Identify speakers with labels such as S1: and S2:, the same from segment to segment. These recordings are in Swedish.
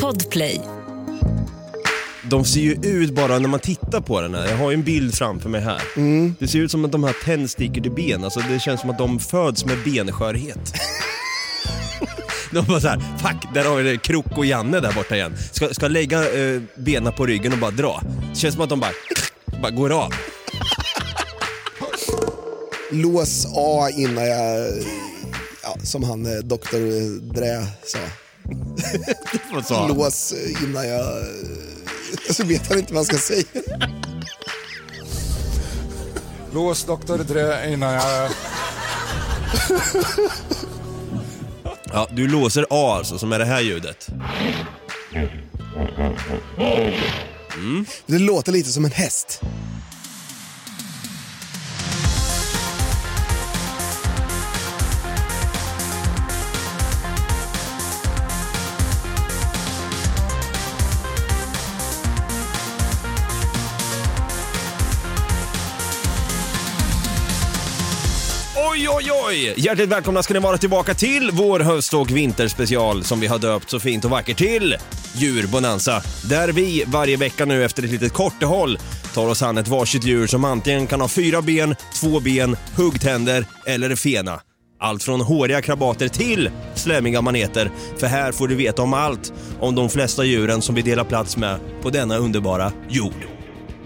S1: Podplay.
S2: De ser ju ut bara när man tittar på den här. Jag har ju en bild framför mig här. Det ser ut som att de här tändstickor till ben. Alltså det känns som att de föds med benskörhet. De bara såhär, fuck, där har vi det, Krok och Janne där borta igen. Ska, ska lägga eh, benen på ryggen och bara dra. Det känns som att de bara, bara går av.
S3: Lås A innan jag... Ja, som han eh, Dr. Drä sa.
S2: Och så.
S3: Lås eh, innan jag... eh, Så vet han inte vad han ska säga.
S4: Lås doktor Dre innan jag...
S2: Ja, du låser A alltså, som är det här ljudet.
S3: Det låter lite som en häst.
S2: Oj, oj, oj! Hjärtligt välkomna ska ni vara tillbaka till vår höst och vinterspecial som vi har döpt så fint och vackert till Djurbonanza. Där vi varje vecka nu efter ett litet kortehåll tar oss an ett varsitt djur som antingen kan ha fyra ben, två ben, huggtänder eller fena. Allt från håriga krabater till slemmiga maneter. För här får du veta om allt om de flesta djuren som vi delar plats med på denna underbara jord.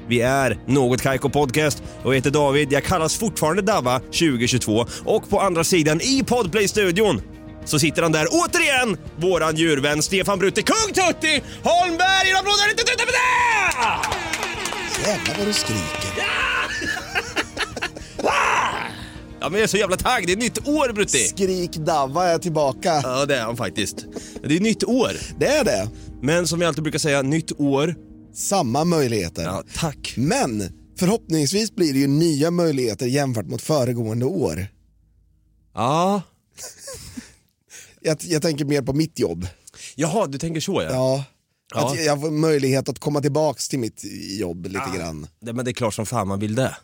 S2: Vi är Något Kaiko Podcast och jag heter David. Jag kallas fortfarande Dava 2022 och på andra sidan i Podplay-studion så sitter han där återigen, våran djurvän Stefan Brutte, Kung Tutti Holmberg! En applåd! Inte tuta på det!
S3: Jävlar vad du skriker.
S2: Ja, men jag är så jävla taggad. Det är nytt år Brutti!
S3: Skrik Dava är tillbaka.
S2: Ja, det är han faktiskt. Det är nytt år.
S3: Det är det.
S2: Men som jag alltid brukar säga, nytt år.
S3: Samma möjligheter.
S2: Ja, tack.
S3: Men förhoppningsvis blir det ju nya möjligheter jämfört mot föregående år.
S2: Ja.
S3: Jag, jag tänker mer på mitt jobb.
S2: Jaha, du tänker så ja.
S3: Ja.
S2: Ja.
S3: Att jag får möjlighet att komma tillbaks till mitt jobb lite grann.
S2: Det- Men det är klart som fan man vill det.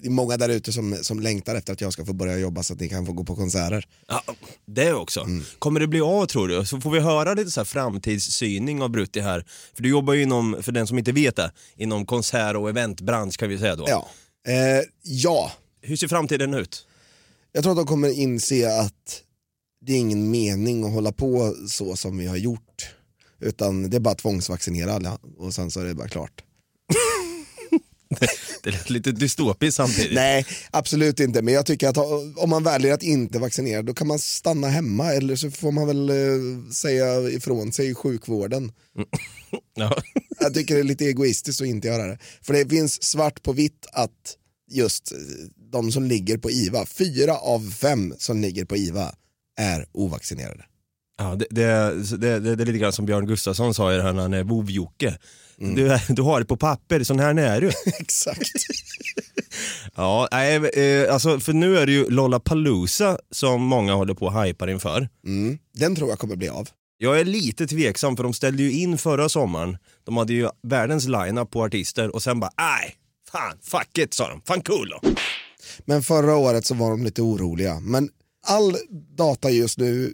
S3: Det är många där ute som, som längtar efter att jag ska få börja jobba så att ni kan få gå på konserter.
S2: Ja, det också.
S3: Mm.
S2: Kommer det bli av tror du? Så får vi höra lite så här framtidssyning av Brutti här. För du jobbar ju inom, för den som inte vet det, inom konsert och eventbransch kan vi säga då.
S3: Ja. Eh, ja,
S2: Hur ser framtiden ut?
S3: jag tror att de kommer inse att det är ingen mening att hålla på så som vi har gjort. Utan det är bara att tvångsvaccinera alla och sen så är det bara klart.
S2: Det lät lite dystopiskt samtidigt.
S3: Nej, absolut inte. Men jag tycker att om man väljer att inte vaccinera då kan man stanna hemma eller så får man väl eh, säga ifrån sig i sjukvården.
S2: Ja.
S3: Jag tycker det är lite egoistiskt att inte göra det. För det finns svart på vitt att just eh, de som ligger på IVA, fyra av fem som ligger på IVA är ovaccinerade.
S2: Ja, det, det, det, det, det är lite grann som Björn Gustafsson sa i det här när han är vovjocke.
S3: Mm.
S2: Du, är- du har det på papper, sån här är du.
S3: Exakt.
S2: Ja, nej, eh, alltså, för nu är det ju Lollapalooza som många håller på och hypar inför.
S3: Mm. Den tror jag kommer bli av.
S2: Jag är lite tveksam för de ställde ju in förra sommaren. De hade ju världens line-up på artister och sen bara nej, fan, fuck it sa de. Fan cool då.
S3: Men förra året så var de lite oroliga. Men all data just nu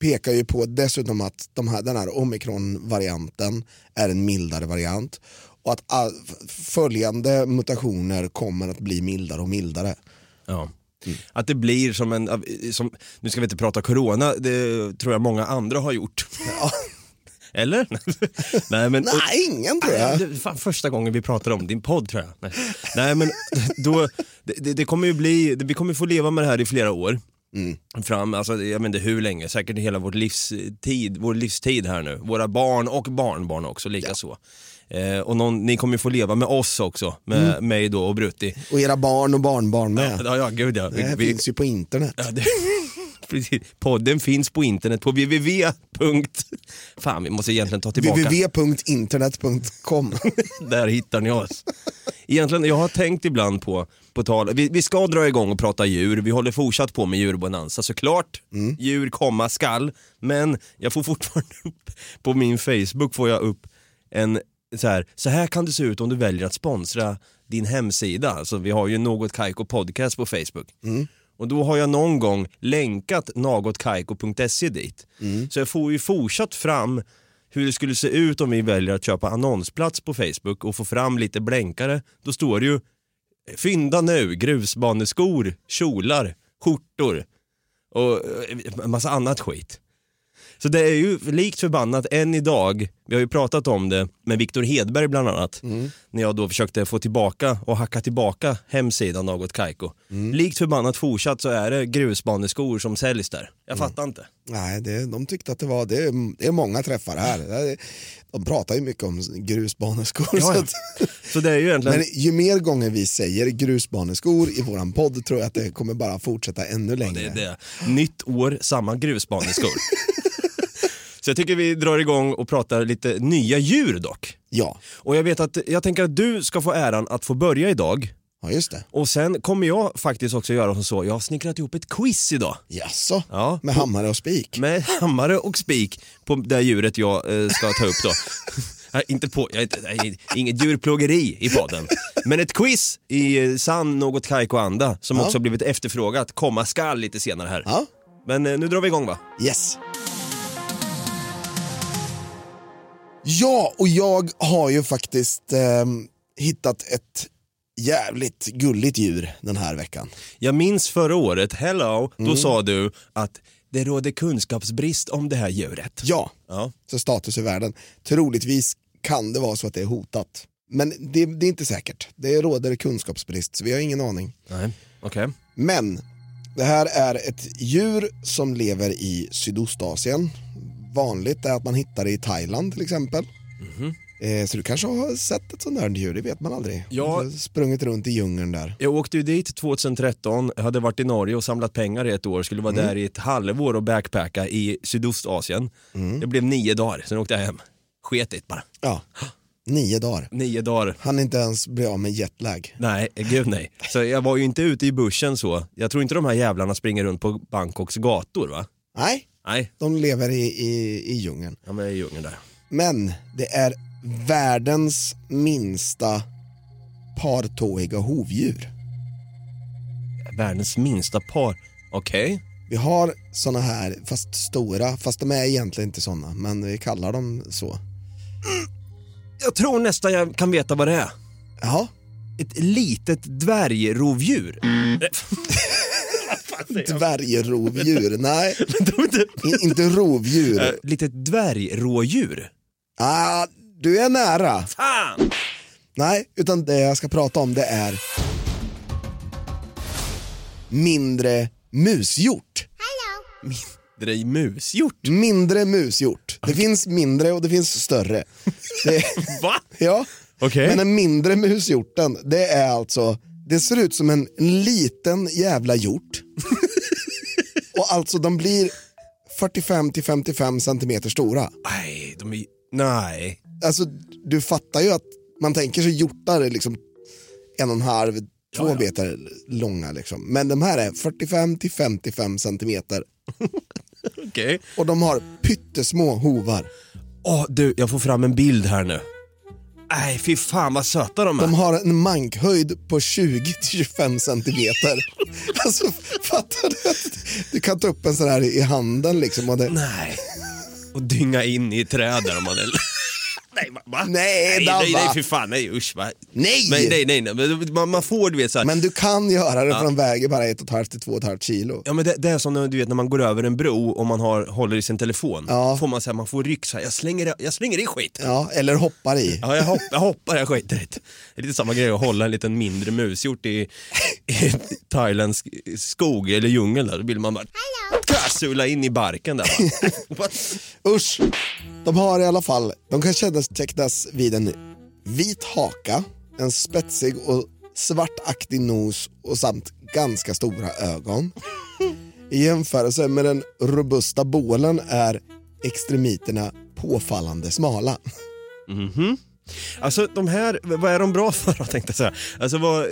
S3: pekar ju på dessutom att de här, den här omikron-varianten är en mildare variant och att all, f- följande mutationer kommer att bli mildare och mildare.
S2: Ja. Mm. Att det blir som en, av- som, nu ska vi inte prata corona, det tror jag många andra har gjort.
S3: Ja.
S2: Eller? nej men... och-
S3: Nej, ingen tror
S2: Nej,
S3: jag.
S2: Ah, det är fan första gången vi pratar om din podd tror jag. Nej, Nej men då, det- det, det kommer ju bli, det, vi kommer få leva med det här i flera år.
S3: Mm.
S2: Fram, alltså, jag vet inte hur länge, säkert hela vårt livstid, vår livstid här nu. Våra barn och barnbarn också, likaså. Eh, och någon, ni kommer ju få leva med oss också, med
S3: Mm.
S2: mig då och Brutti.
S3: Och era barn och barnbarn med.
S2: Ja, ja gud ja. Vi-
S3: Det här
S2: vi-
S3: finns ju på internet.
S2: Ja, det, precis. Podden finns på internet på www. Fan, vi måste egentligen ta tillbaka.
S3: www.internet.com
S2: Där hittar ni oss. Egentligen, jag har tänkt ibland på, på tal, vi, vi ska dra igång och prata djur, vi håller fortsatt på med djurbonanza såklart. Djur komma skall, men jag får fortfarande upp, på min Facebook får jag upp en så här, så här kan det se ut om du väljer att sponsra din hemsida. Alltså, vi har ju något Kaiko podcast på Facebook. Och då har jag någon gång länkat nagotkaiko.se dit. Så jag får ju fortsatt fram hur det skulle se ut om vi väljer att köpa annonsplats på Facebook och få fram lite blänkare. Då står det ju fynda nu grusbaneskor, kjolar, skjortor och eh, en massa annat skit. Så det är ju likt förbannat än idag, vi har ju pratat om det med Viktor Hedberg bland annat, när jag då försökte få tillbaka och hacka tillbaka hemsidan Något Kaiko. Likt förbannat fortsatt så är det grusbaneskor som säljs där. Jag fattar inte.
S3: Nej, det, de tyckte att det var, det är, det är många träffar här. Det- De pratar ju mycket om grusbaneskor. så att,
S2: Så det är ju egentligen...
S3: men ju mer gånger vi säger grusbaneskor i våran podd tror jag att det kommer bara fortsätta ännu längre.
S2: Det är det. Nytt år, samma grusbaneskor. Så jag tycker vi drar igång och pratar lite nya djur dock.
S3: Ja.
S2: Och jag vet att, jag tänker att du ska få äran att få börja idag.
S3: ja, just det.
S2: Och sen kommer jag faktiskt också göra som så, jag har snickrat ihop ett quiz idag.
S3: Jaså?
S2: Ja.
S3: Med hammare och spik?
S2: Med hammare och spik på det djuret jag eh, ska ta upp då. Nej, inte på, jag, är inte- nej, inget djurplågeri i podden. Men ett quiz i eh, sann något Kaiko-anda som också har blivit efterfrågat komma skall lite senare här.
S3: Ja.
S2: Men eh, nu drar vi igång va?
S3: Yes. Ja, och jag har ju faktiskt ehm, hittat ett jävligt gulligt djur den här veckan.
S2: Jag minns förra året, hello, då sa du att det råder kunskapsbrist om det här djuret.
S3: Ja,
S2: Ja.
S3: så status i världen. Troligtvis kan det vara så att det är hotat. Men det, det är inte säkert. Det råder kunskapsbrist, så vi har ingen aning.
S2: Nej, okej.
S3: Men det här är ett djur som lever i Sydostasien. Vanligt är att man hittar det i Thailand till exempel. Eh, Så du kanske har sett ett sånt där djur, det vet man aldrig.
S2: Ja.
S3: Du har Sprungit runt i djungeln där.
S2: Jag åkte ju dit 2013, jag hade varit i Norge och samlat pengar i ett år, skulle vara där i ett halvår och backpacka i Sydostasien. Det blev nio dagar, sen åkte jag hem. Sket it bara.
S3: Ja, nio dagar.
S2: Nio dagar.
S3: Han inte ens bli av med jetlag.
S2: Nej, gud nej. Så jag var ju inte ute i bussen så. Jag tror inte de här jävlarna springer runt på Bangkoks gator va?
S3: Nej,
S2: Nej,
S3: de lever i, i, i djungeln.
S2: de är i djungeln där.
S3: Men det är världens minsta partåiga hovdjur.
S2: Världens minsta par. Okej.
S3: Vi har såna här, fast stora, fast de är egentligen inte såna, men vi kallar dem så.
S2: Jag tror nästan jag kan veta vad det är.
S3: Jaha,
S2: Ett litet dvärgrovdjur.
S3: dvärgrovdjur, nej,
S2: De är inte-
S3: i- inte rovdjur.
S2: litet dvärgrådjur.
S3: Ah, du är nära.
S2: Fan!
S3: Nej, utan det jag ska prata om det är mindre musgjort.
S2: Det är musgjort.
S3: Mindre musgjort. Det finns mindre och det finns större. Det,
S2: Va?
S3: ja.
S2: Okej.
S3: Men den mindre mushjorten, det är alltså, det ser ut som en liten jävla hjort. och alltså de blir 45 till 55 centimeter stora.
S2: Nej, de är... Nej.
S3: Alltså du fattar ju att man tänker sig hjortar är liksom en och en halv, två meter långa liksom. Men de här är 45 till 55 centimeter
S2: Okej.
S3: och de har pyttesmå hovar.
S2: Åh, du, jag får fram en bild här nu. Nej, fy fan vad söta de är.
S3: De har en mankhöjd på 20-25 centimeter. Alltså, fattar du? att Du kan ta upp en sån här i handen liksom. Och det...
S2: Nej. Och dynga in i träd där om man... Nej, va? va?
S3: Nej,
S2: nej, nej,
S3: Dabba.
S2: nej, fy fan, nej, usch va?
S3: Nej!
S2: Men, nej, nej, nej, men man, man får du vet så här.
S3: Men du kan göra det för de väger bara 1,5 till 2,5 kilo.
S2: Ja men det, det är som när, du vet, när man går över en bro och man har, håller i sin telefon.
S3: Ja.
S2: Får man säga man får ryck så här, jag slänger, jag slänger i skit.
S3: Ja, eller hoppar i.
S2: Ja, jag, hopp, jag hoppar, jag skiter i det. Det är lite samma grej att hålla en liten mindre musgjort i, i thailändsk skog eller djungel där. Då vill man bara sula in i barken där. va. Va?
S3: Usch! De har i alla fall, de kan kännetecknas vid en vit haka, en spetsig och svartaktig nos och samt ganska stora ögon. I jämförelse med den robusta bålen är extremiterna påfallande smala.
S2: Alltså de här, vad är de bra för då, tänkte jag säga. Alltså, vad,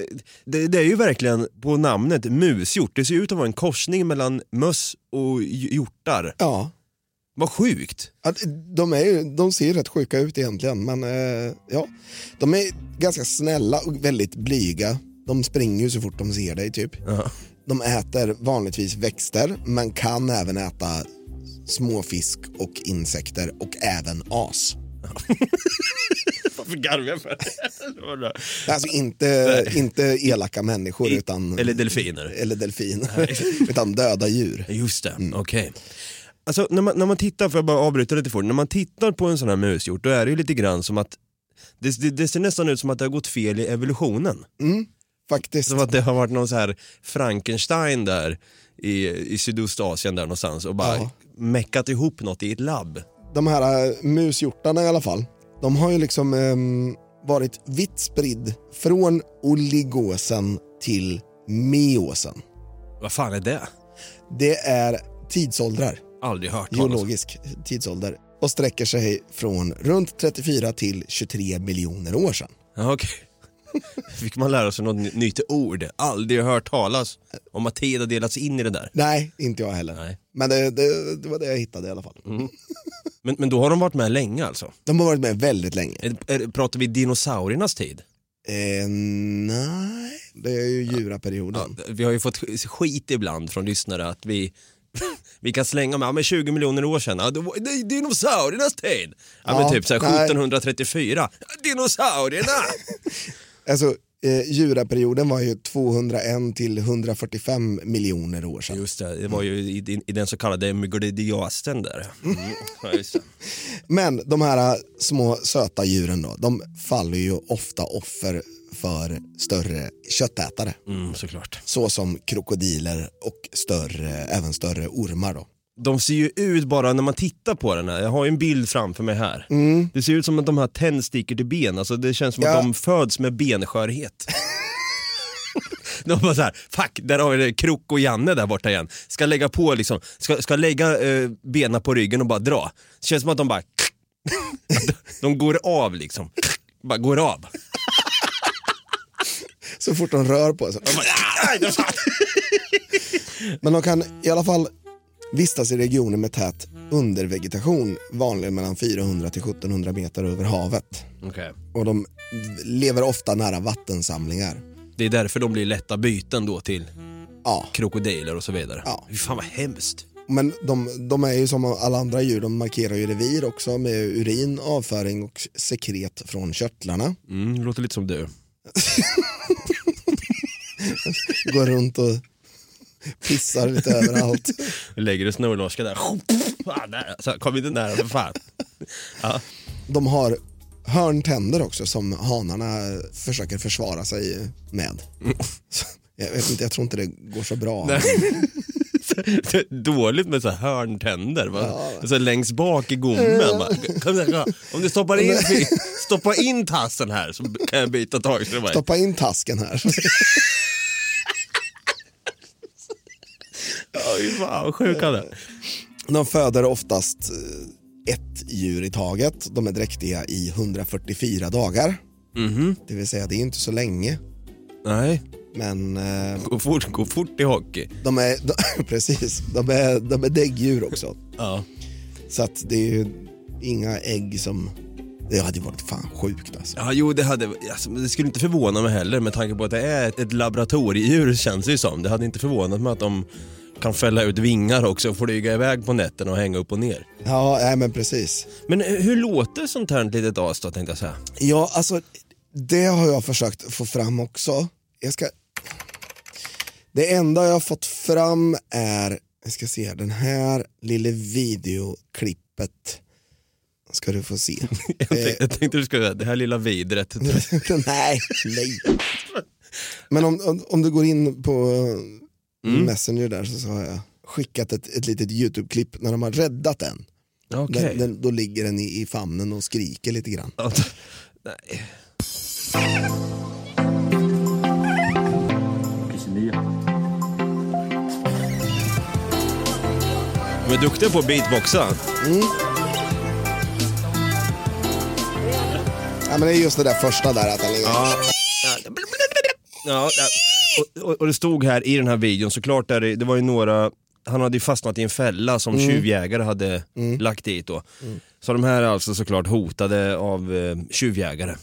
S2: det, det är ju verkligen på namnet musgjort, det ser ut att vara en korsning mellan möss och j- hjortar.
S3: Ja,
S2: Vad sjukt.
S3: att de, är ju, de ser ju rätt sjuka ut egentligen, men eh, ja. De är ganska snälla och väldigt blyga. De springer ju så fort de ser dig typ. De äter vanligtvis växter men kan även äta småfisk och insekter och även as.
S2: Varför garvar jag för? Det var bra.
S3: Alltså inte, inte elaka människor utan,
S2: Eller delfiner.
S3: eller delfiner, utan döda djur.
S2: Just det, okej. Mm. Alltså när man, när man tittar, får jag bara avbryta lite fort, när man tittar på en sån här mushjort då är det ju lite grann som att det, det, det ser nästan ut som att det har gått fel i evolutionen.
S3: Faktiskt.
S2: Som att det har varit någon så här Frankenstein där i, i sydostasien där någonstans och bara
S3: Ja.
S2: meckat ihop något i ett labb.
S3: de här eh, mushjortarna i alla fall, de har ju liksom ehm, varit vitt spridd från oligosen till meosen.
S2: Vad fan är det?
S3: Det är tidsåldrar,
S2: Aldrig hört talas om.
S3: geologisk tidsålder och sträcker sig från runt 34 till 23 miljoner år sedan.
S2: Ja, okej. Fick man lära sig något ny- nytt ord? Aldrig hört talas om att tid har delats in i det där.
S3: Nej, inte jag heller.
S2: Nej.
S3: Men det, det, det var det jag hittade i alla fall.
S2: Men, men då har de varit med länge alltså?
S3: De har varit med väldigt länge.
S2: Är, är, pratar vi dinosauriernas tid?
S3: Eh, nej, det är ju juraperioden.
S2: Vi har ju fått sk- skit ibland från lyssnare att vi, vi kan slänga med, ja, men 20 miljoner år sedan, ja, då, var- det är dinosauriernas tid. Ja,
S3: Ja,
S2: men typ så här,
S3: nej.
S2: 1734, Ja, dinosaurierna!
S3: Alltså, eh, juraperioden var ju 201 till 145 miljoner år sedan.
S2: Just det, det var ju i, i, i den så kallade myglodiasten där. Mm. Ja, just det.
S3: Men de här eh, små söta djuren då, de faller ju ofta offer för större köttätare.
S2: Mm, såklart.
S3: Så som krokodiler och större, även större ormar då.
S2: De ser ju ut bara när man tittar på den här, jag har ju en bild framför mig här. Det ser ut som att de har tändstickor till ben, alltså det känns som
S3: Mm. Ja.
S2: att de föds med benskörhet. de bara såhär, fuck, där har vi det, Krok och Janne där borta igen. Ska lägga på liksom, ska, ska lägga eh, benen på ryggen och bara dra. Det känns som att de bara, att de- de går av liksom. bara går av.
S3: Så fort de rör på sig.
S2: De bara, "Aj, där satt."
S3: Men de kan i alla fall vistas i regioner med tät undervegetation, vanligen mellan 400 till 1700 meter över havet.
S2: Okej.
S3: Och de lever ofta nära vattensamlingar.
S2: Det är därför de blir lätta byten då till
S3: Ja,
S2: krokodiler och så vidare.
S3: Ja.
S2: Fy fan vad hemskt.
S3: men de, de är ju som alla andra djur, de markerar ju revir också med urin, avföring och sekret från körtlarna.
S2: Mm, det låter lite som du.
S3: Går runt och pissar lite överallt.
S2: Lägger en snornorska där. Fan, där. Så, kom inte nära för fan. Ja.
S3: De har hörntänder också som hanarna försöker försvara sig med. Så, Jag, vet inte, jag tror inte det går så bra.
S2: Dåligt med så här hörntänder. va? Så här längst bak i gommen. va? Kom här, kom. Om du stoppar in, stoppa in tassen här så kan jag byta tag. Så det bara-
S3: Stoppa in tasken här.
S2: Oj, fan vad sjuk han är.
S3: De föder oftast eh, ett djur i taget. De är dräktiga i 144 dagar. Det vill säga, det är inte så länge.
S2: Nej,
S3: Men eh,
S2: gå fort, gå fort i hockey.
S3: de är, de, precis, de är, de är däggdjur också.
S2: Ja.
S3: Så att det är ju inga ägg som... Det hade ju varit fan sjukt alltså.
S2: Ja, jo, det, hade, alltså, det skulle inte förvåna mig heller med tanke på att det är ett, ett laboratoriedjur känns det ju som. Det hade inte förvånat mig att de kan fälla ut vingar också och flyga iväg på nätterna och hänga upp och ner.
S3: Ja, nej, men precis.
S2: Men hur hur låter sånt här litet as då tänkte jag säga?
S3: Ja, alltså det har jag försökt få fram också. Jag ska... Det enda jag har fått fram är, jag ska se, den här lilla videoklippet ska du få se.
S2: Jag tänkte, jag tänkte du skulle säga det här lilla vidret.
S3: Eh. nej, nej. Men om, om, om du går in på eh,
S2: Mm.
S3: Messenger där så, så har jag skickat ett, ett litet YouTube-klipp när de har räddat den.
S2: Okej.
S3: Den, den. Då ligger den i, i famnen och skriker lite grann.
S2: Att- Nej.
S1: 29.
S2: De är duktiga på att beatboxa.
S3: Ja, men det är just det där första där att den ligger...
S2: Ja, ja. Och, och, och det stod här i den här videon, såklart där det, det var ju några, han hade ju fastnat i en fälla som tjuvjägare hade lagt dit då. Så de här är alltså såklart hotade av eh, tjuvjägare.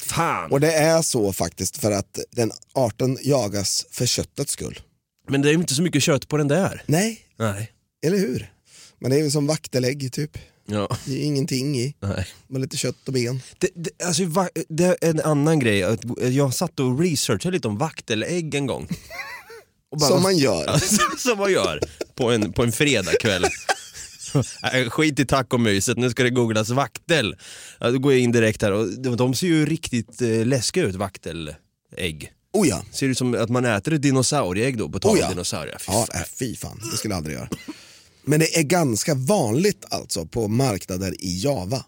S2: Fan!
S3: Och det är så faktiskt för att den arten jagas för köttets skull.
S2: Men det är ju inte så mycket kött på den där.
S3: Nej,
S2: Nej.
S3: eller hur? Men det är ju som vaktelägg typ.
S2: Ja.
S3: Det är ju ingenting i,
S2: Nej.
S3: med lite kött och ben.
S2: Det, det, alltså, va- det är en annan grej. att Jag satt och researchade lite om vaktelägg en gång. Och bara,
S3: Som man gör.
S2: Alltså, som man gör på en, på en fredagkväll. Nej, Skit i tacomyset, nu ska det googlas vaktel. Ja, Då går jag in direkt här och de, de ser ju riktigt eh, läskiga ut, vaktelägg.
S3: Oh ja.
S2: Ser ut som att man äter ett dinosaurieägg då, på tal om
S3: Oh ja.
S2: dinosaurier. Fy
S3: Ja,
S2: fan.
S3: nej, fy fan. Det skulle jag aldrig göra. Men det är ganska vanligt alltså på marknader i Java.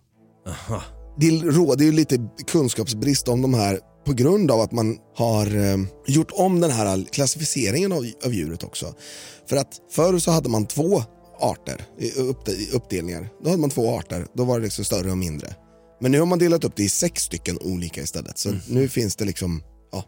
S2: Aha.
S3: Det råder ju lite kunskapsbrist om de här på grund av att man har eh, gjort om den här klassificeringen av, av djuret också. För att förr så hade man två arter, i upp, i uppdelningar. Då hade man två arter, då var det liksom större och mindre. Men nu har man delat upp det i sex stycken olika istället. Så nu finns det liksom, ja,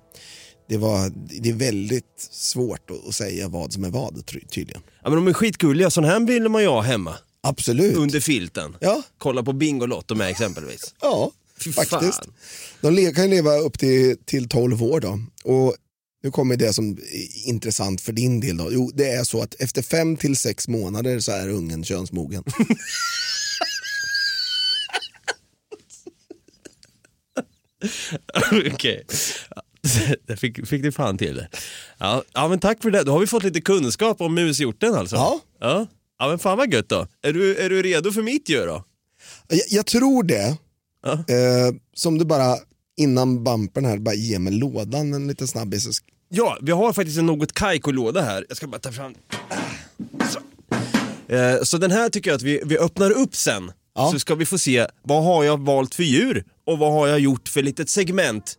S3: det, var, det är väldigt svårt att, att säga vad som är vad ty- tydligen.
S2: Ja, men de är skitgulliga, sån här vill man ju ha hemma.
S3: Absolut.
S2: Under filten.
S3: Ja.
S2: Kolla på Bingolotto med exempelvis.
S3: Ja,
S2: Fy
S3: faktiskt.
S2: fan.
S3: De le- kan ju leva upp till, till 12 år då. Och nu kommer det som är intressant för din del då. Jo, det är så att efter 5 till 6 månader så är ungen könsmogen.
S2: Okej. Det fick, fick du fan till det. Ja, ja, men tack för det. Då har vi fått lite kunskap om mushjorten alltså.
S3: Ja.
S2: ja. Ja, men fan vad gött då. Är du, är du redo för mitt djur då?
S3: jag, jag tror det.
S2: Ja.
S3: Eh, som du bara innan bumpen här, bara ge mig lådan en liten snabbis. så sk-
S2: Ja, vi har faktiskt en något kajkolåda här. Jag ska bara ta fram... Så, eh, så den här tycker jag att vi, vi öppnar upp sen.
S3: Ja.
S2: Så ska vi få se vad har jag valt för djur och vad har jag gjort för litet segment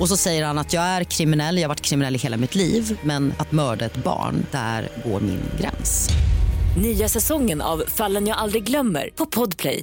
S5: Och så säger han att jag är kriminell, jag har varit kriminell i hela mitt liv men att mörda ett barn, där går min gräns.
S1: Nya säsongen av Fallen jag aldrig glömmer på Podplay.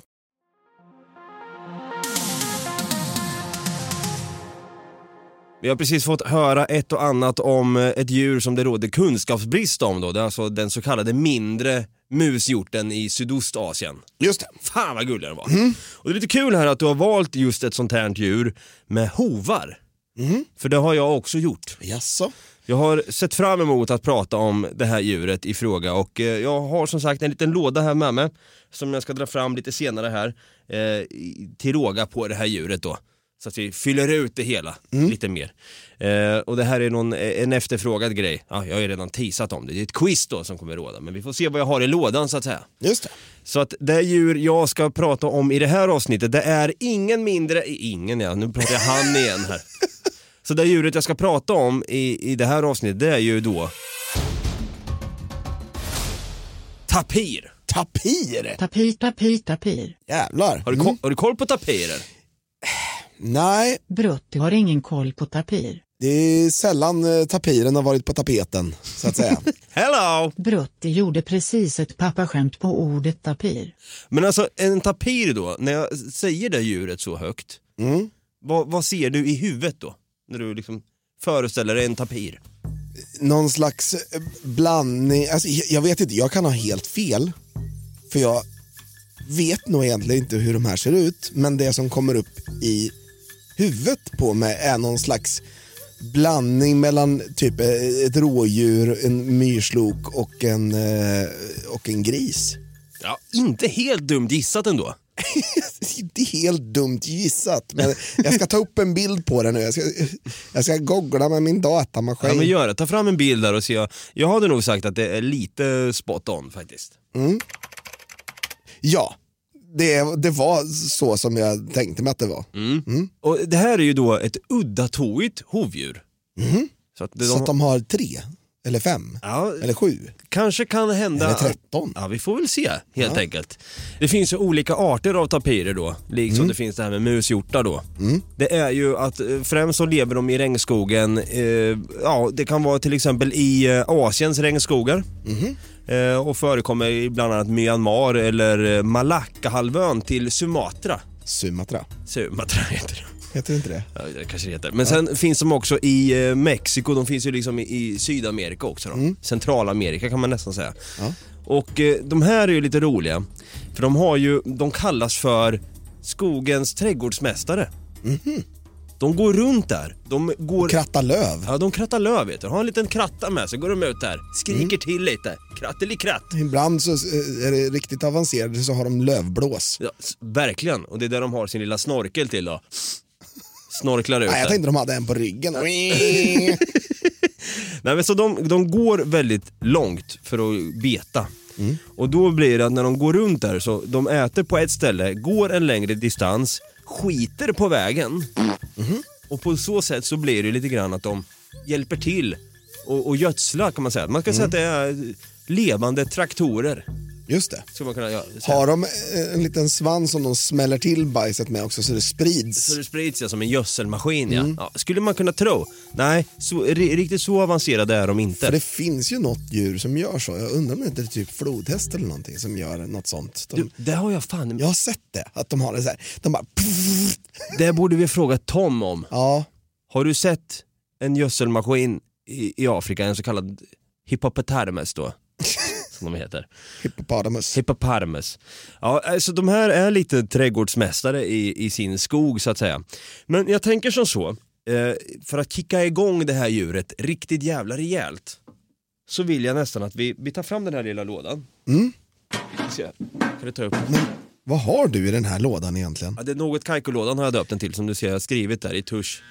S2: Vi har precis fått höra ett och annat om eh, ett djur som det råder kunskapsbrist om då. Det är alltså den så kallade mindre mushjorten i Sydostasien.
S3: Just det. Mm.
S2: Fan vad gullig den var. Och det är lite kul här att du har valt just ett sånt här djur med hovar.
S3: Mm.
S2: För det har jag också gjort.
S3: Jaså?
S2: Jag har sett fram emot att prata om det här djuret i fråga och eh, jag har som sagt en liten låda här med mig som jag ska dra fram lite senare här eh, i- till råga på det här djuret då. Så att vi fyller ut det hela lite mer. Eh, och det här är någon, eh, en efterfrågad grej. Ja, jag har ju redan teasat om det. Det är ett quiz då som kommer råda men vi får se vad jag har i lådan så att säga.
S3: Just det.
S2: Så att det djur jag ska prata om i det här avsnittet, det är ingen mindre, ingen ja, nu pratar jag han igen här. Så det djuret jag ska prata om i, i det här avsnittet, det är ju då tapir.
S3: Tapir!
S6: Tapir, tapir, tapir.
S3: Jävlar. Mm.
S2: Har du, ko- har du koll på tapirer?
S3: Nej,
S6: Brutti har ingen koll på tapir.
S3: det är sällan eh, tapiren har varit på tapeten, så att säga.
S2: Hello!
S6: Brutti gjorde precis ett pappaskämt på ordet tapir.
S2: Men alltså en tapir då, när jag säger det djuret så högt,
S3: Mm.
S2: vad, vad ser du i huvudet då? När du liksom föreställer dig en tapir?
S3: någon slags eh, blandning, alltså, jag jag vet inte, jag kan ha helt fel. För jag vet nog egentligen inte hur de här ser ut, men det som kommer upp i huvudet på mig är någon slags blandning mellan typ eh, ett rådjur, en myrslok och en, eh, och en gris.
S2: Ja, inte helt dumt gissat ändå.
S3: Det är helt dumt gissat, men jag ska ta upp en bild på det nu. Jag ska, jag ska googla med min datamaskin.
S2: Ja men gör det, ta fram en bild där och se. Jag, jag hade nog sagt att det är lite spot on faktiskt.
S3: Ja, det, det var så som jag tänkte mig att det var.
S2: Mm, Och det här är ju då ett uddatåigt hovdjur. Så att de,
S3: Så att de har tre Eller fem?
S2: Ja.
S3: Eller sju?
S2: Kanske kan hända...
S3: Eller 13.
S2: Ja, vi får väl se helt enkelt. Det finns ju olika arter av tapirer då, liksom det finns det här med mushjortar då. Det är ju att eh, främst så lever de i regnskogen, eh, ja det kan vara till exempel i eh, Asiens regnskogar. Eh, och förekommer i bland annat Myanmar eller eh, Malackahalvön till Sumatra.
S3: Sumatra?
S2: Sumatra heter det.
S3: Heter det inte det?
S2: Ja, det kanske det heter. Men sen finns de också i eh, Mexiko, de finns ju liksom i, i Sydamerika också då. Centralamerika kan man nästan säga.
S3: Mm. Ja.
S2: Och eh, de här är ju lite roliga, för de har ju, de kallas för skogens trädgårdsmästare.
S3: Mhm.
S2: De går runt där, de går...
S3: Kratta löv?
S2: Ja, de krattar löv vet du. Har en liten kratta med sig, går de ut där, skriker
S3: Mm.
S2: till lite. Krattelikratt.
S3: Ibland så eh, är det riktigt avancerade så har de lövblås.
S2: Ja, s- verkligen, och det är där de har sin lilla snorkel till då. Snorklar ut
S3: Nej, jag
S2: där.
S3: tänkte de hade en på ryggen.
S2: Nej, men så de, de går väldigt långt för att beta.
S3: Mm.
S2: Och då blir det att när de går runt där så de äter på ett ställe, går en längre distans, skiter på vägen.
S3: Mm-hmm.
S2: Och på så sätt så blir det lite grann att de hjälper till och, och gödsla kan man säga. Man kan säga att det är levande traktorer.
S3: Just det.
S2: Skulle man kunna göra. säga.
S3: Har de eh, en liten svans som de smäller till bajset med också så det sprids?
S2: Så det sprids ja, som en gödselmaskin ja.
S3: Mm.
S2: ja. Skulle man kunna tro. Nej, så, ri, riktigt så avancerade är de inte.
S3: För det finns ju något djur som gör så. Jag undrar om det inte är typ flodhäst eller någonting som gör något sånt. De,
S2: Du, det har jag fan...
S3: Jag har sett det, att de har det så här. De bara...
S2: Det borde vi fråga Tom om.
S3: Ja,
S2: Har du sett en gödselmaskin i, i Afrika, en så kallad hippopotamus då? Som de heter.
S3: hippopotamus.
S2: Hippopotamus. Ja, alltså de här är lite trädgårdsmästare i, i sin skog så att säga. Men jag tänker som så, eh, för att kicka igång det här djuret riktigt jävla rejält så vill jag nästan att vi, vi tar fram den här lilla lådan. Mm. Se, kan du ta upp?
S3: Vad har du i den här lådan egentligen?
S2: Ja, det är något Kaikkolådan har jag döpt den till som du ser jag har skrivit där i tusch.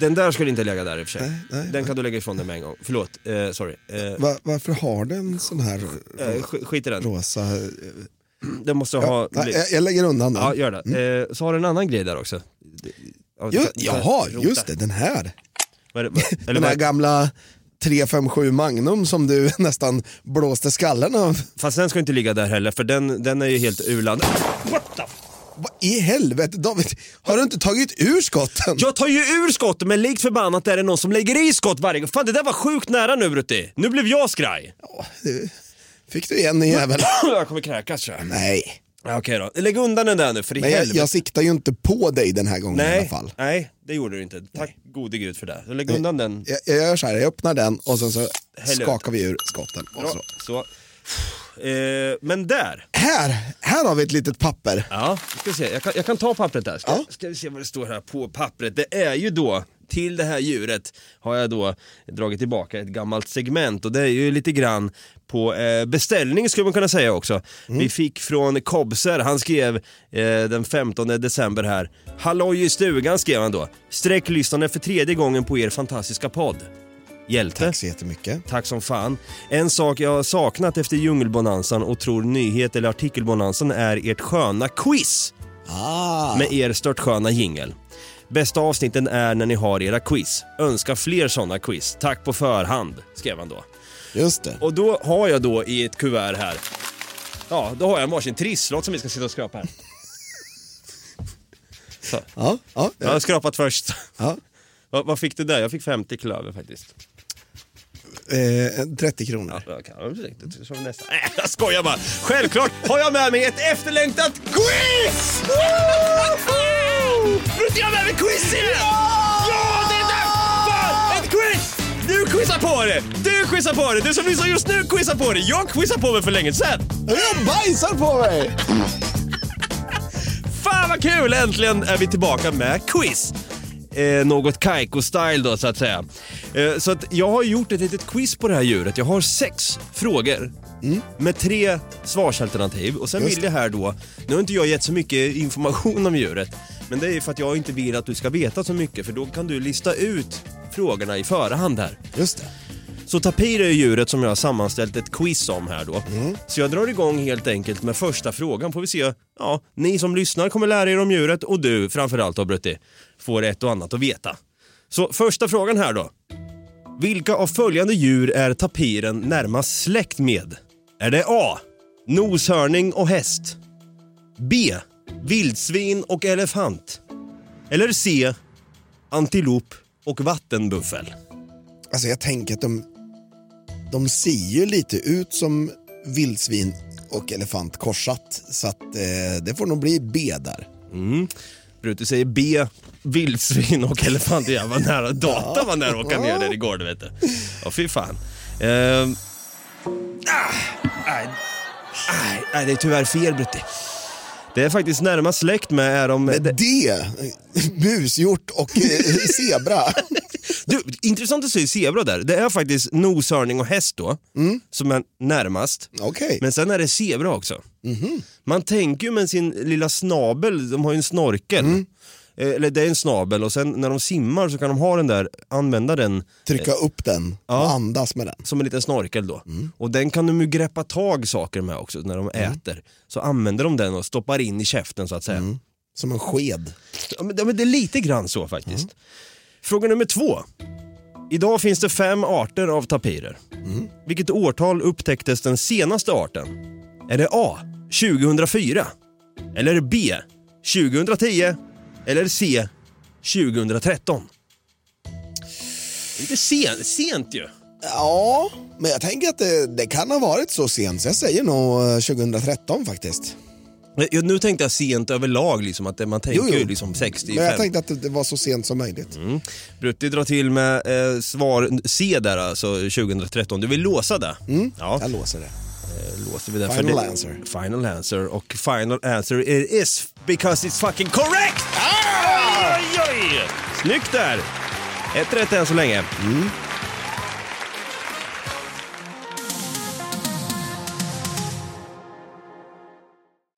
S2: Den där skulle inte lägga där i och för sig.
S3: Nej, nej,
S2: den kan du lägga ifrån dig med en gång. Förlåt, eh, sorry. Eh,
S3: Va, varför har den sån här
S2: eh, sk- skit i den.
S3: rosa...
S2: Den måste
S3: Ja,
S2: ha...
S3: nej, jag, jag lägger undan den.
S2: Ja, gör det. Eh, så har du en annan grej där också. Ja,
S3: Jo,
S2: ta- ta-
S3: jaha,
S2: rota.
S3: just det, den här.
S2: Vad är det- vad- Eller
S3: Den här
S2: vad,
S3: gamla 357 Magnum som du nästan blåste skallen av.
S2: fast den ska inte ligga där heller för den, den är ju helt urladdad. What the f-
S3: Vad i helvete David, har du inte tagit ur skotten?
S2: Jag tar ju ur skott men likt förbannat är det någon som lägger i skott varje gång. Fan det där var sjukt nära nu Brutti. Nu blev jag skraj.
S3: Du- Fick du igen din jävel?
S2: Jag kommer kräkas tror jag.
S3: Nej,
S2: Ja, Okej då, lägg undan den där nu för i
S3: men jag,
S2: helvete.
S3: jag siktar ju inte på dig den här gången
S2: nej,
S3: i alla fall.
S2: nej, det gjorde du inte. Tack gode gud för det. Så lägg undan den.
S3: Jag, jag gör så här, jag öppnar den och sen så
S2: Häll ut.
S3: skakar vi ur skotten. Och så.
S2: Bra. Så. Eh, men där.
S3: Här, här har vi ett litet papper.
S2: Ja, ska vi se. Jag, kan, jag kan ta pappret där. Ska,
S3: Ja.
S2: ska vi se vad det står här på pappret. Det är ju då, till det här djuret har jag då dragit tillbaka ett gammalt segment och det är ju lite grann på eh, beställning skulle man kunna säga också. Vi fick från Kobser, han skrev eh, den 15 december här. Halloj i stugan skrev han då. Sträcklyssnande för tredje gången på er fantastiska podd. Hjälte.
S3: Tack så jättemycket.
S2: Tack som fan. En sak jag har saknat efter djungelbonanzan och tror nyhet eller artikelbonanzan är ert sköna quiz
S3: Ah,
S2: med er störtsköna jingel. Bästa avsnitten är när ni har era quiz. Önskar fler sådana quiz. Tack på förhand, skrev han då.
S3: just det.
S2: Och då har jag då i ett kuvert här, ja, då har jag en varsin trisslott som vi ska sitta och skrapa här. Så.
S3: Ja, ja,
S2: Jag har skrapat först.
S3: ja.
S2: Vad vad fick du där? Jag fick 50 klöver faktiskt.
S3: Eh, 30 kronor.
S2: Ja, kan jag väl inte. Så kör vi nästa. Nej, jag skojar bara. Självklart har jag med mig ett efterlängtat quiz! Woho! Brukar jag har med mig quiz igen? Ja, det är dags för ett quiz! Du quizar på det! Du quizar på det! Du som lyssnar just nu quizar på det! Jag quizar på mig för länge sedan!
S3: Jag bajsar på mig!
S2: Fan vad kul! Äntligen är vi tillbaka med quiz. Eh, något Kaiko-style då så att säga. Eh, så att jag har gjort ett litet quiz på det här djuret. Jag har sex frågor med tre svarsalternativ. Och sen
S3: Just
S2: vill det här då, nu har inte jag gett så mycket information om djuret, men det är ju för att jag inte vill att du ska veta så mycket för då kan du lista ut frågorna i förhand här.
S3: Just det.
S2: Så tapir är djuret som jag har sammanställt ett quiz om här då. Så jag drar igång helt enkelt med första frågan. Får vi se, ja, ni som lyssnar kommer lära er om djuret och du framförallt då Brutti, får ett och annat att veta. Så första frågan här då. Vilka av följande djur är tapiren närmast släkt med? Är det A. Noshörning och häst? B. Vildsvin och elefant? Eller C. Antilop och vattenbuffel?
S3: Alltså jag tänker att de, de ser ju lite ut som vildsvin och elefant korsat. Så att eh, det får nog bli B där.
S2: Mm. Brute säger B, vildsvin och elefant. Jag var nära, data var nära att åka ner där igår, du vet. det. Ja, fy fan. Ehm. ah, nej, nej, nej, det är tyvärr fel, Brutti. Det är faktiskt närmast släkt med är de...
S3: Men D, busgjort och eh, zebra.
S2: Du, intressant att du säger zebra där. Det är faktiskt noshörning och häst då, som är närmast.
S3: Okej.
S2: Men sen är det zebra också. Man tänker ju med sin lilla snabel, de har ju en snorkel. Eh, Eller det är en snabel och sen när de simmar så kan de ha den där, använda den
S3: Trycka upp den och andas med den.
S2: som en liten snorkel då. Och den kan de ju greppa tag saker med också när de äter. Så använder de den och stoppar in i käften så att säga.
S3: Som en sked.
S2: Ja, men, ja, men det är lite grann så faktiskt. Fråga nummer två. Idag finns det fem arter av tapirer. Vilket årtal upptäcktes den senaste arten? Är det A. 2004? Eller B. 2010? Eller C. 2013? Lite sen, sent ju.
S3: Ja, men jag tänker att det, det kan ha varit så sent. Så jag säger nog eh, 2013 faktiskt.
S2: Ja, Nu tänkte jag sent överlag, liksom, att det- man tänker
S3: Jo, jo.
S2: ju liksom 60
S3: Men jag tänkte att det- Mm. det var så sent som möjligt.
S2: Brutti drar till med eh, svar C där alltså, 2013. Du vill låsa det? Ja.
S3: Jag låser det.
S2: låser vi där.
S3: Mm. Final
S2: för det,
S3: answer.
S2: Final answer. Och final answer it is because it's fucking correct! Ah! Oj, oj, oj. Snyggt där! Ett rätt än så länge.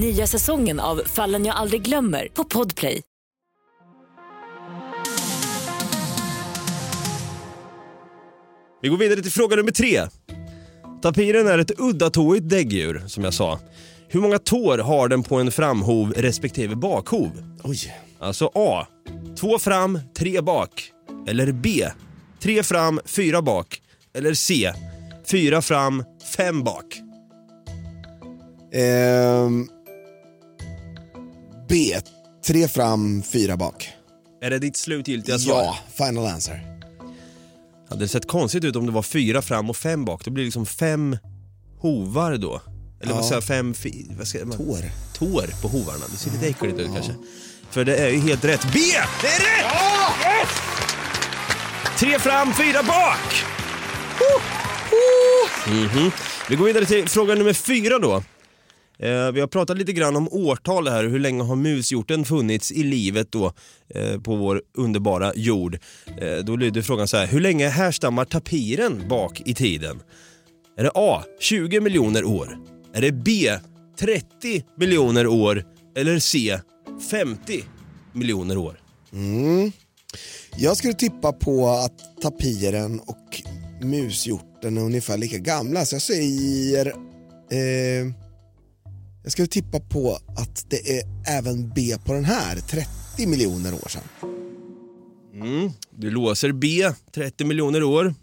S1: Nya säsongen av Fallen jag aldrig glömmer på Podplay.
S2: Vi går vidare till fråga nummer tre. Tapiren är ett uddatåigt däggdjur, som jag sa. Hur många tår har den på en framhov respektive bakhov?
S3: Oj.
S2: Alltså A. Två fram, tre bak. Eller B. Tre fram, fyra bak. Eller C. Fyra fram, fem bak.
S3: Ehm, B. Tre fram, fyra bak.
S2: Är det ditt slutgiltiga svar?
S3: Ja, final answer.
S2: Hade det sett konstigt ut om det var fyra fram och fem bak? Det blir liksom fem hovar då. Eller vad
S3: Ja.
S2: säger jag, fem... Fi, vad ska man,
S3: Tår.
S2: Tår på hovarna. Det ser lite äckligt ut kanske. För det är ju helt rätt. B! Det är rätt! Yes! Tre fram, fyra bak! Huh! Huh! Mhm. Vi går vidare till fråga nummer fyra då. Eh, vi har pratat lite grann om årtal här, hur länge har mushjorten funnits i livet då eh, på vår underbara jord? Eh, då lyder frågan så här, hur länge härstammar tapiren bak i tiden? Är det A. 20 miljoner år? Är det B. 30 miljoner år? Eller C. 50 miljoner år?
S3: Jag skulle tippa på att tapiren och mushjorten är ungefär lika gamla, så jag säger... Eh, jag skulle tippa på att det är även B på den här, 30 miljoner år sedan.
S2: Du låser B, 30 miljoner år.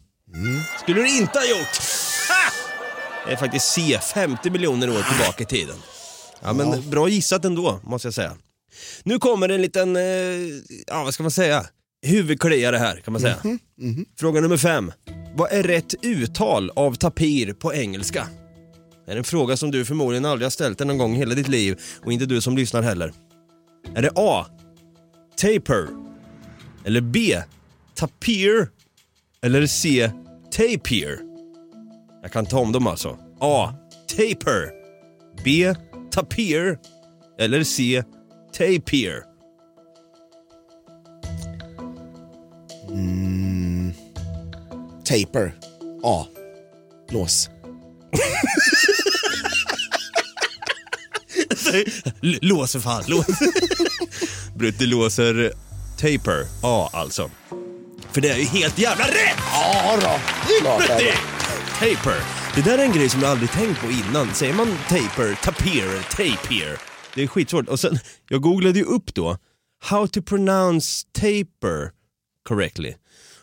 S2: Skulle du inte ha gjort! Ha! Det är faktiskt C, 50 miljoner år tillbaka i tiden. Ja, men Bra gissat ändå, måste jag säga. Nu kommer en liten, eh, ja vad ska man säga, huvudkliare här kan man säga. Fråga nummer fem. Vad är rätt uttal av tapir på engelska? Det är en fråga som du förmodligen aldrig har ställt dig någon gång i hela ditt liv och inte du som lyssnar heller. Är det A. Taper? Eller B. Tapir? Eller C. Tapir? Jag kan ta om dem alltså. A. Taper. B. Tapir. Eller C. Tapir.
S3: Taper. A. Lås.
S2: L- låser fan, låser. Brutti låser taper, ja alltså. För det är ju helt jävla rätt!
S3: Ja då, klart är
S2: Brutti!
S3: det.
S2: Taper. Det där är en grej som jag aldrig tänkt på innan. Säger man taper, tapir, tapier? Det är skitsvårt. Och sen, jag googlade ju upp då, how to pronounce taper correctly.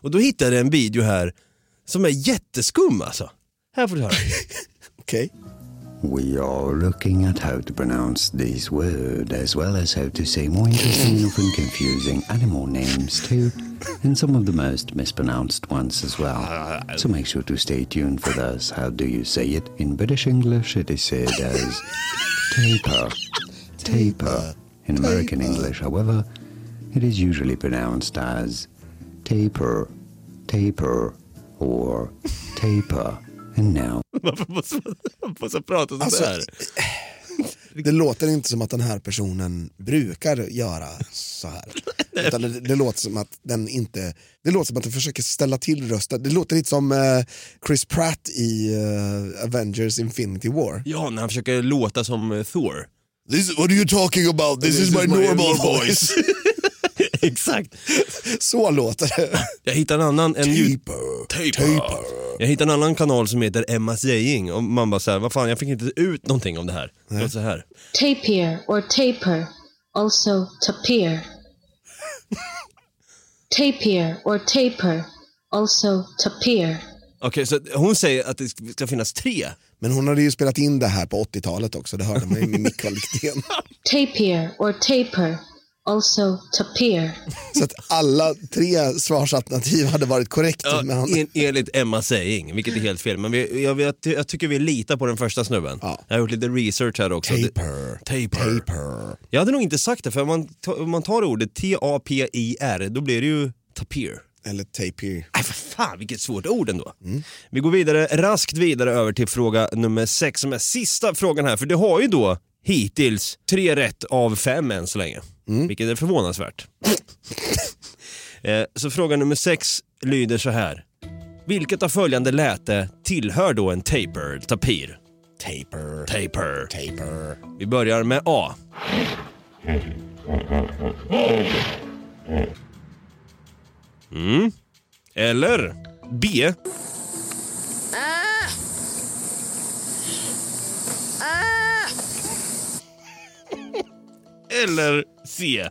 S2: Och då hittade jag en video här som är jätteskum alltså. Här får du höra.
S3: Okej.
S7: We are looking at how to pronounce these words as well as how to say more interesting and often confusing animal names too, and some of the most mispronounced ones as well. So make sure to stay tuned for this. How do you say it? In British English, it is said as taper, taper. In American English, however, it is usually pronounced as taper, taper, or taper. And now
S2: Varför måste man, man måste prata sådär?
S3: Alltså, Det låter inte som att den här personen brukar göra så här. Utan det, det låter som att den inte... Det låter som att den försöker ställa till rösten. Det låter lite som eh, Chris Pratt i eh, Avengers Infinity War.
S2: Ja, när han försöker låta som eh, Thor.
S3: This, what are you talking about? This, is, my, normal voice.
S2: Exakt.
S3: så låter det. Typ.
S2: Jag hittade en annan, en ljud...
S3: Taper.
S2: Taper. Jag hittade en annan kanal som heter Emma Saying och man bara såhär, vad fan jag fick inte ut någonting om det här. Det låter så här.
S8: Tapir or taper, also tapir. tapir or taper, also tapir.
S2: Okej, så att hon säger att det ska finnas tre.
S3: Men hon hade ju spelat in det här på 80-talet också. Det hörde man ju med mickvaliteten.
S8: Tapir or taper, also tapir.
S3: Så att alla tre svarsalternativ hade varit korrekt.
S2: Ja,
S3: men han,
S2: en, enligt Emma Saying, vilket är helt fel. Men vi, jag, jag, jag tycker vi litar på den första snubben.
S3: Ja.
S2: Jag har gjort lite research här också. Det-
S3: Taper.
S2: Taper. Jag hade nog inte sagt det, för om man, ta- om man tar ordet T-A-P-I-R, då blir det ju tapir.
S3: Eller tapir.
S2: Nej, för fan vilket svårt ord ändå. Vi går vidare, raskt vidare över till fråga nummer sex som är sista frågan här. För det har ju då hittills tre rätt av fem än så länge. Vilket är förvånansvärt. Eh, så fråga nummer sex lyder så här. Vilket av följande läte tillhör då en taper, tapir? Taper. Taper. Taper. Vi börjar med A. Eller B. Eller C.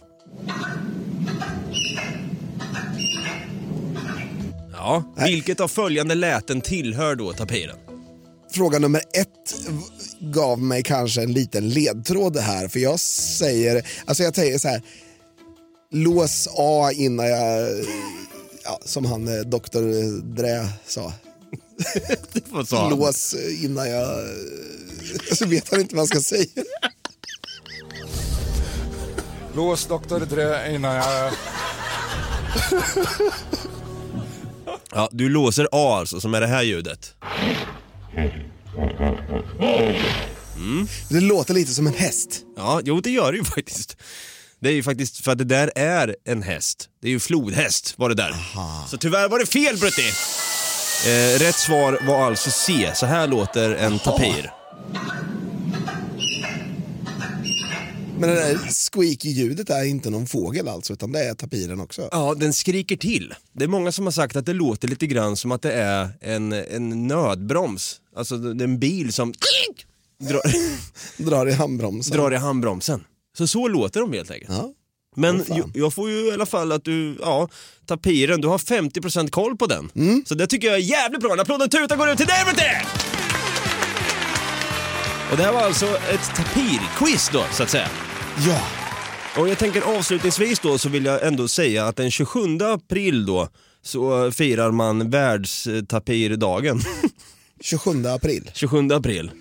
S2: Ja, vilket av följande läten tillhör då tapiren?
S3: Fråga nummer ett gav mig kanske en liten ledtråd här. För jag säger, alltså jag säger så här. Lås A innan jag, ja, som han eh, doktor eh, Drä sa.
S2: Vad sa han?
S3: Lås eh, innan jag, så vet han inte vad han ska säga.
S4: Lås doktor Dre innan jag...
S2: Ja, du låser A alltså, som är det här ljudet.
S3: Det låter lite som en häst.
S2: Ja, jo det gör det ju faktiskt. Det är ju faktiskt för att det där är en häst. Det är ju flodhäst var det där. Så tyvärr var det fel Brutti. Eh, rätt svar var alltså C. Så här låter en tapir.
S3: Men det där squeaky-ljudet är inte någon fågel alltså, utan det är tapiren också.
S2: Ja, den skriker till. Det är många som har sagt att det låter lite grann som att det är en, en nödbroms. Alltså det är en bil som drar,
S3: Drar i handbromsen.
S2: drar i handbromsen. Så så låter de helt enkelt.
S3: Ja.
S2: Men
S3: Åh, fan.
S2: ju- jag får ju i alla fall att du, ja, tapiren, du har 50% koll på den. Så det tycker jag är jävligt bra. En applåd och tuta går ut till dig Brutti! Och det här var alltså ett tapirquiz då, så att säga.
S3: ja.
S2: Och jag tänker avslutningsvis då så vill jag ändå säga att den 27 april då så firar man världstapirdagen.
S3: 27 april.
S2: 27 april.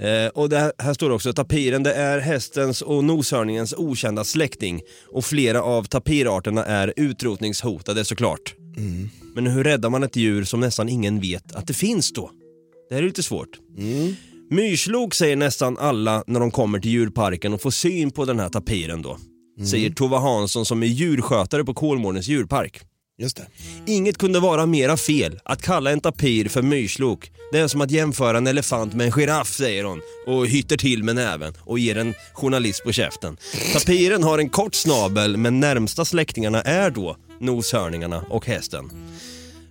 S2: Eh, och det här, här står det också, tapiren det är hästens och noshörningens okända släkting och flera av tapirarterna är utrotningshotade såklart. Men hur räddar man ett djur som nästan ingen vet att det finns då? Det här är lite svårt. Myrslok säger nästan alla när de kommer till djurparken och får syn på den här tapiren då. Säger Tova Hansson som är djurskötare på Kolmårdens djurpark.
S3: Just det.
S2: Inget kunde vara mera fel. Att kalla en tapir för myrslok, det är som att jämföra en elefant med en giraff, säger hon och hytter till med näven och ger en journalist på käften. Tapiren har en kort snabel, men närmsta släktingarna är då noshörningarna och hästen.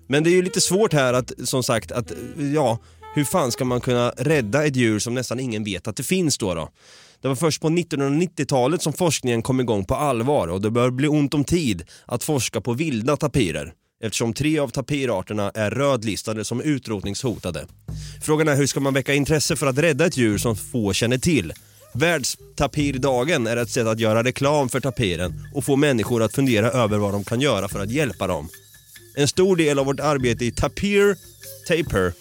S2: Men det är ju lite svårt här att, som sagt, att ja, hur fan ska man kunna rädda ett djur som nästan ingen vet att det finns då? då? Det var först på 1990-talet som forskningen kom igång på allvar och det bör bli ont om tid att forska på vilda tapirer eftersom tre av tapirarterna är rödlistade som utrotningshotade. Frågan är hur ska man väcka intresse för att rädda ett djur som få känner till? Världstapirdagen är ett sätt att göra reklam för tapiren och få människor att fundera över vad de kan göra för att hjälpa dem. En stor del av vårt arbete i Tapir Taper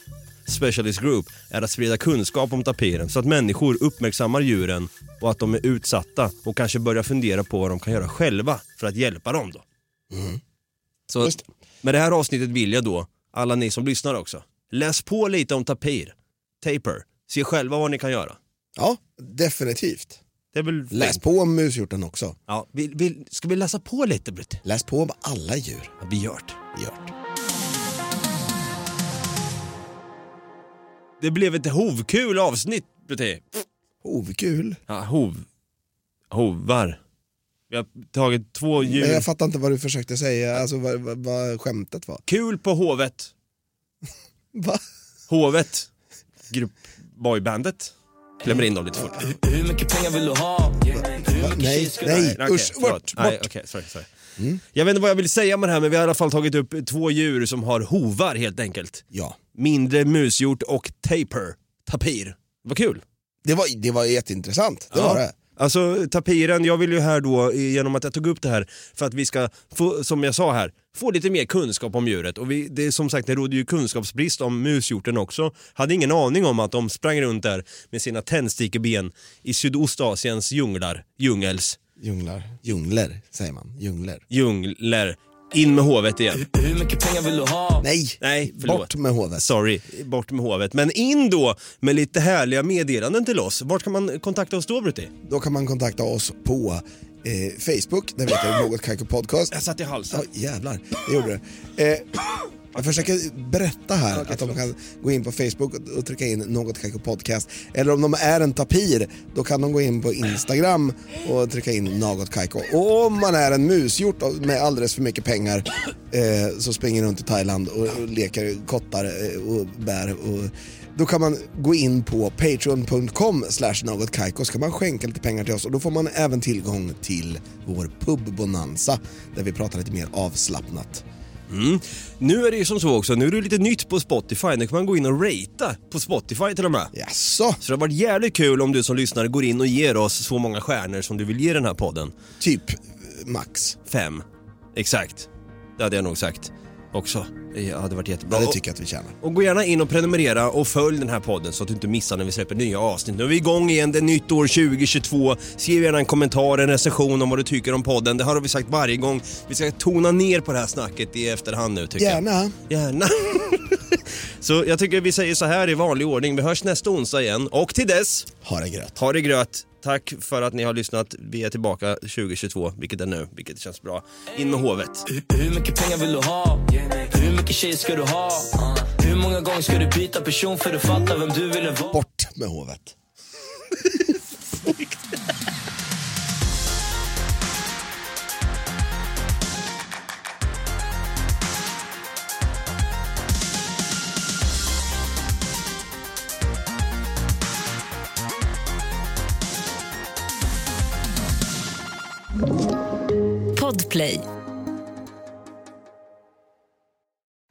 S2: Specialist Group är att sprida kunskap om tapiren så att människor uppmärksammar djuren och att de är utsatta och kanske börjar fundera på vad de kan göra själva för att hjälpa dem. Då. Så
S3: Just det.
S2: med Mm. det här avsnittet vill jag då, alla ni som lyssnar också, läs på lite om tapir, taper, se själva vad ni kan göra.
S3: Ja, definitivt.
S2: Det är väl
S3: Läs på om mushjorten också.
S2: Ja, vi, vi, ska vi läsa på lite Britt?
S3: Läs på om alla djur.
S2: Ja, vi gör det.
S3: Gört.
S2: Det blev ett hovkul avsnitt, Britt.
S3: Oh, Hovkul.
S2: Ja, hov. Hovar. Vi har tagit två djur.
S3: Men jag fattar inte vad du försökte säga, alltså vad, vad, vad skämtet var.
S2: Kul på hovet.
S3: Va?
S2: Hovet. Grupp boybandet. Klämmer in dem lite fort.
S3: Va? Nej, nej,
S2: Okej,
S3: usch, Mm.
S2: förlåt.
S3: bort,
S2: Nej,
S3: bort.
S2: okej, sorry, sorry. Jag vet inte vad jag vill säga med det här men vi har i alla fall tagit upp två djur som har hovar helt enkelt.
S3: Ja,
S2: Mindre musgjort och taper. Tapir. Vad kul.
S3: det var, det var jätteintressant, det var det.
S2: Alltså tapiren, jag vill ju här då, i- genom att jag tog upp det här, för att vi ska, få, som jag sa här, få lite mer kunskap om djuret. Och vi, det är som sagt, det råder ju kunskapsbrist om mushjorten också. Hade ingen aning om att de sprang runt där med sina tändstickeben i Sydostasiens djunglar, djungels,
S3: Djunglar. Djungler, säger man. Djungler.
S2: djungler. In med hovet igen.
S3: Nej,
S2: Nej, förlåt.
S3: bort med hovet.
S2: Sorry, bort med hovet. Men in då med lite härliga meddelanden till oss. Vart kan man kontakta oss då, Brutti?
S3: Då kan man kontakta oss på eh, Facebook, där heter det Något Kaiko Podcast.
S2: Jag satt i halsen.
S3: Ja, jävlar, det gjorde det. Eh, jag försöker berätta här att de kan gå in på Facebook och- och trycka in något Kaiko Podcast. Eller om de är en tapir, då kan de gå in på Instagram och trycka in något Kaiko. Och om man är en musgjort och- med alldeles för mycket pengar eh, så springer runt i Thailand och, och leker kottar eh, och bär och då kan man gå in på patreon.com slash något kaiko så kan man skänka lite pengar till oss och då får man även tillgång till vår pubbonanza där vi pratar lite mer avslappnat.
S2: Nu är det ju som så också, nu är det lite nytt på Spotify. Nu kan man gå in och ratea på Spotify till och med.
S3: Jaså,
S2: Så det har varit jävligt kul om du som lyssnare går in och ger oss så många stjärnor som du vill ge den här podden.
S3: typ eh, max.
S2: Fem. Exakt. Det hade jag nog sagt också. Det hade varit jättebra.
S3: Ja, det tycker jag att vi tjänar.
S2: Och gå gärna in och prenumerera och följ den här podden så att du inte missar när vi släpper nya avsnitt. Nu är vi igång igen, det är nytt år 2022. Skriv gärna en kommentar, en recension om vad du tycker om podden. Det här har vi sagt varje gång. Vi ska tona ner på det här snacket i efterhand nu tycker jag.
S3: Gärna.
S2: Gärna. så jag tycker vi säger så här i vanlig ordning. Vi hörs nästa onsdag igen och till dess,
S3: Ha det gröt.
S2: ha det gröt. Tack för att ni har lyssnat. Vi är tillbaka 2022, vilket är nu, vilket känns bra. In med hovet.
S9: Hur mycket pengar vill du ha? Hur mycket tjejer ska du ha? Hur många gånger ska du byta person för att fatta vem du ville vara?
S3: Bort med hovet.
S1: Podplay.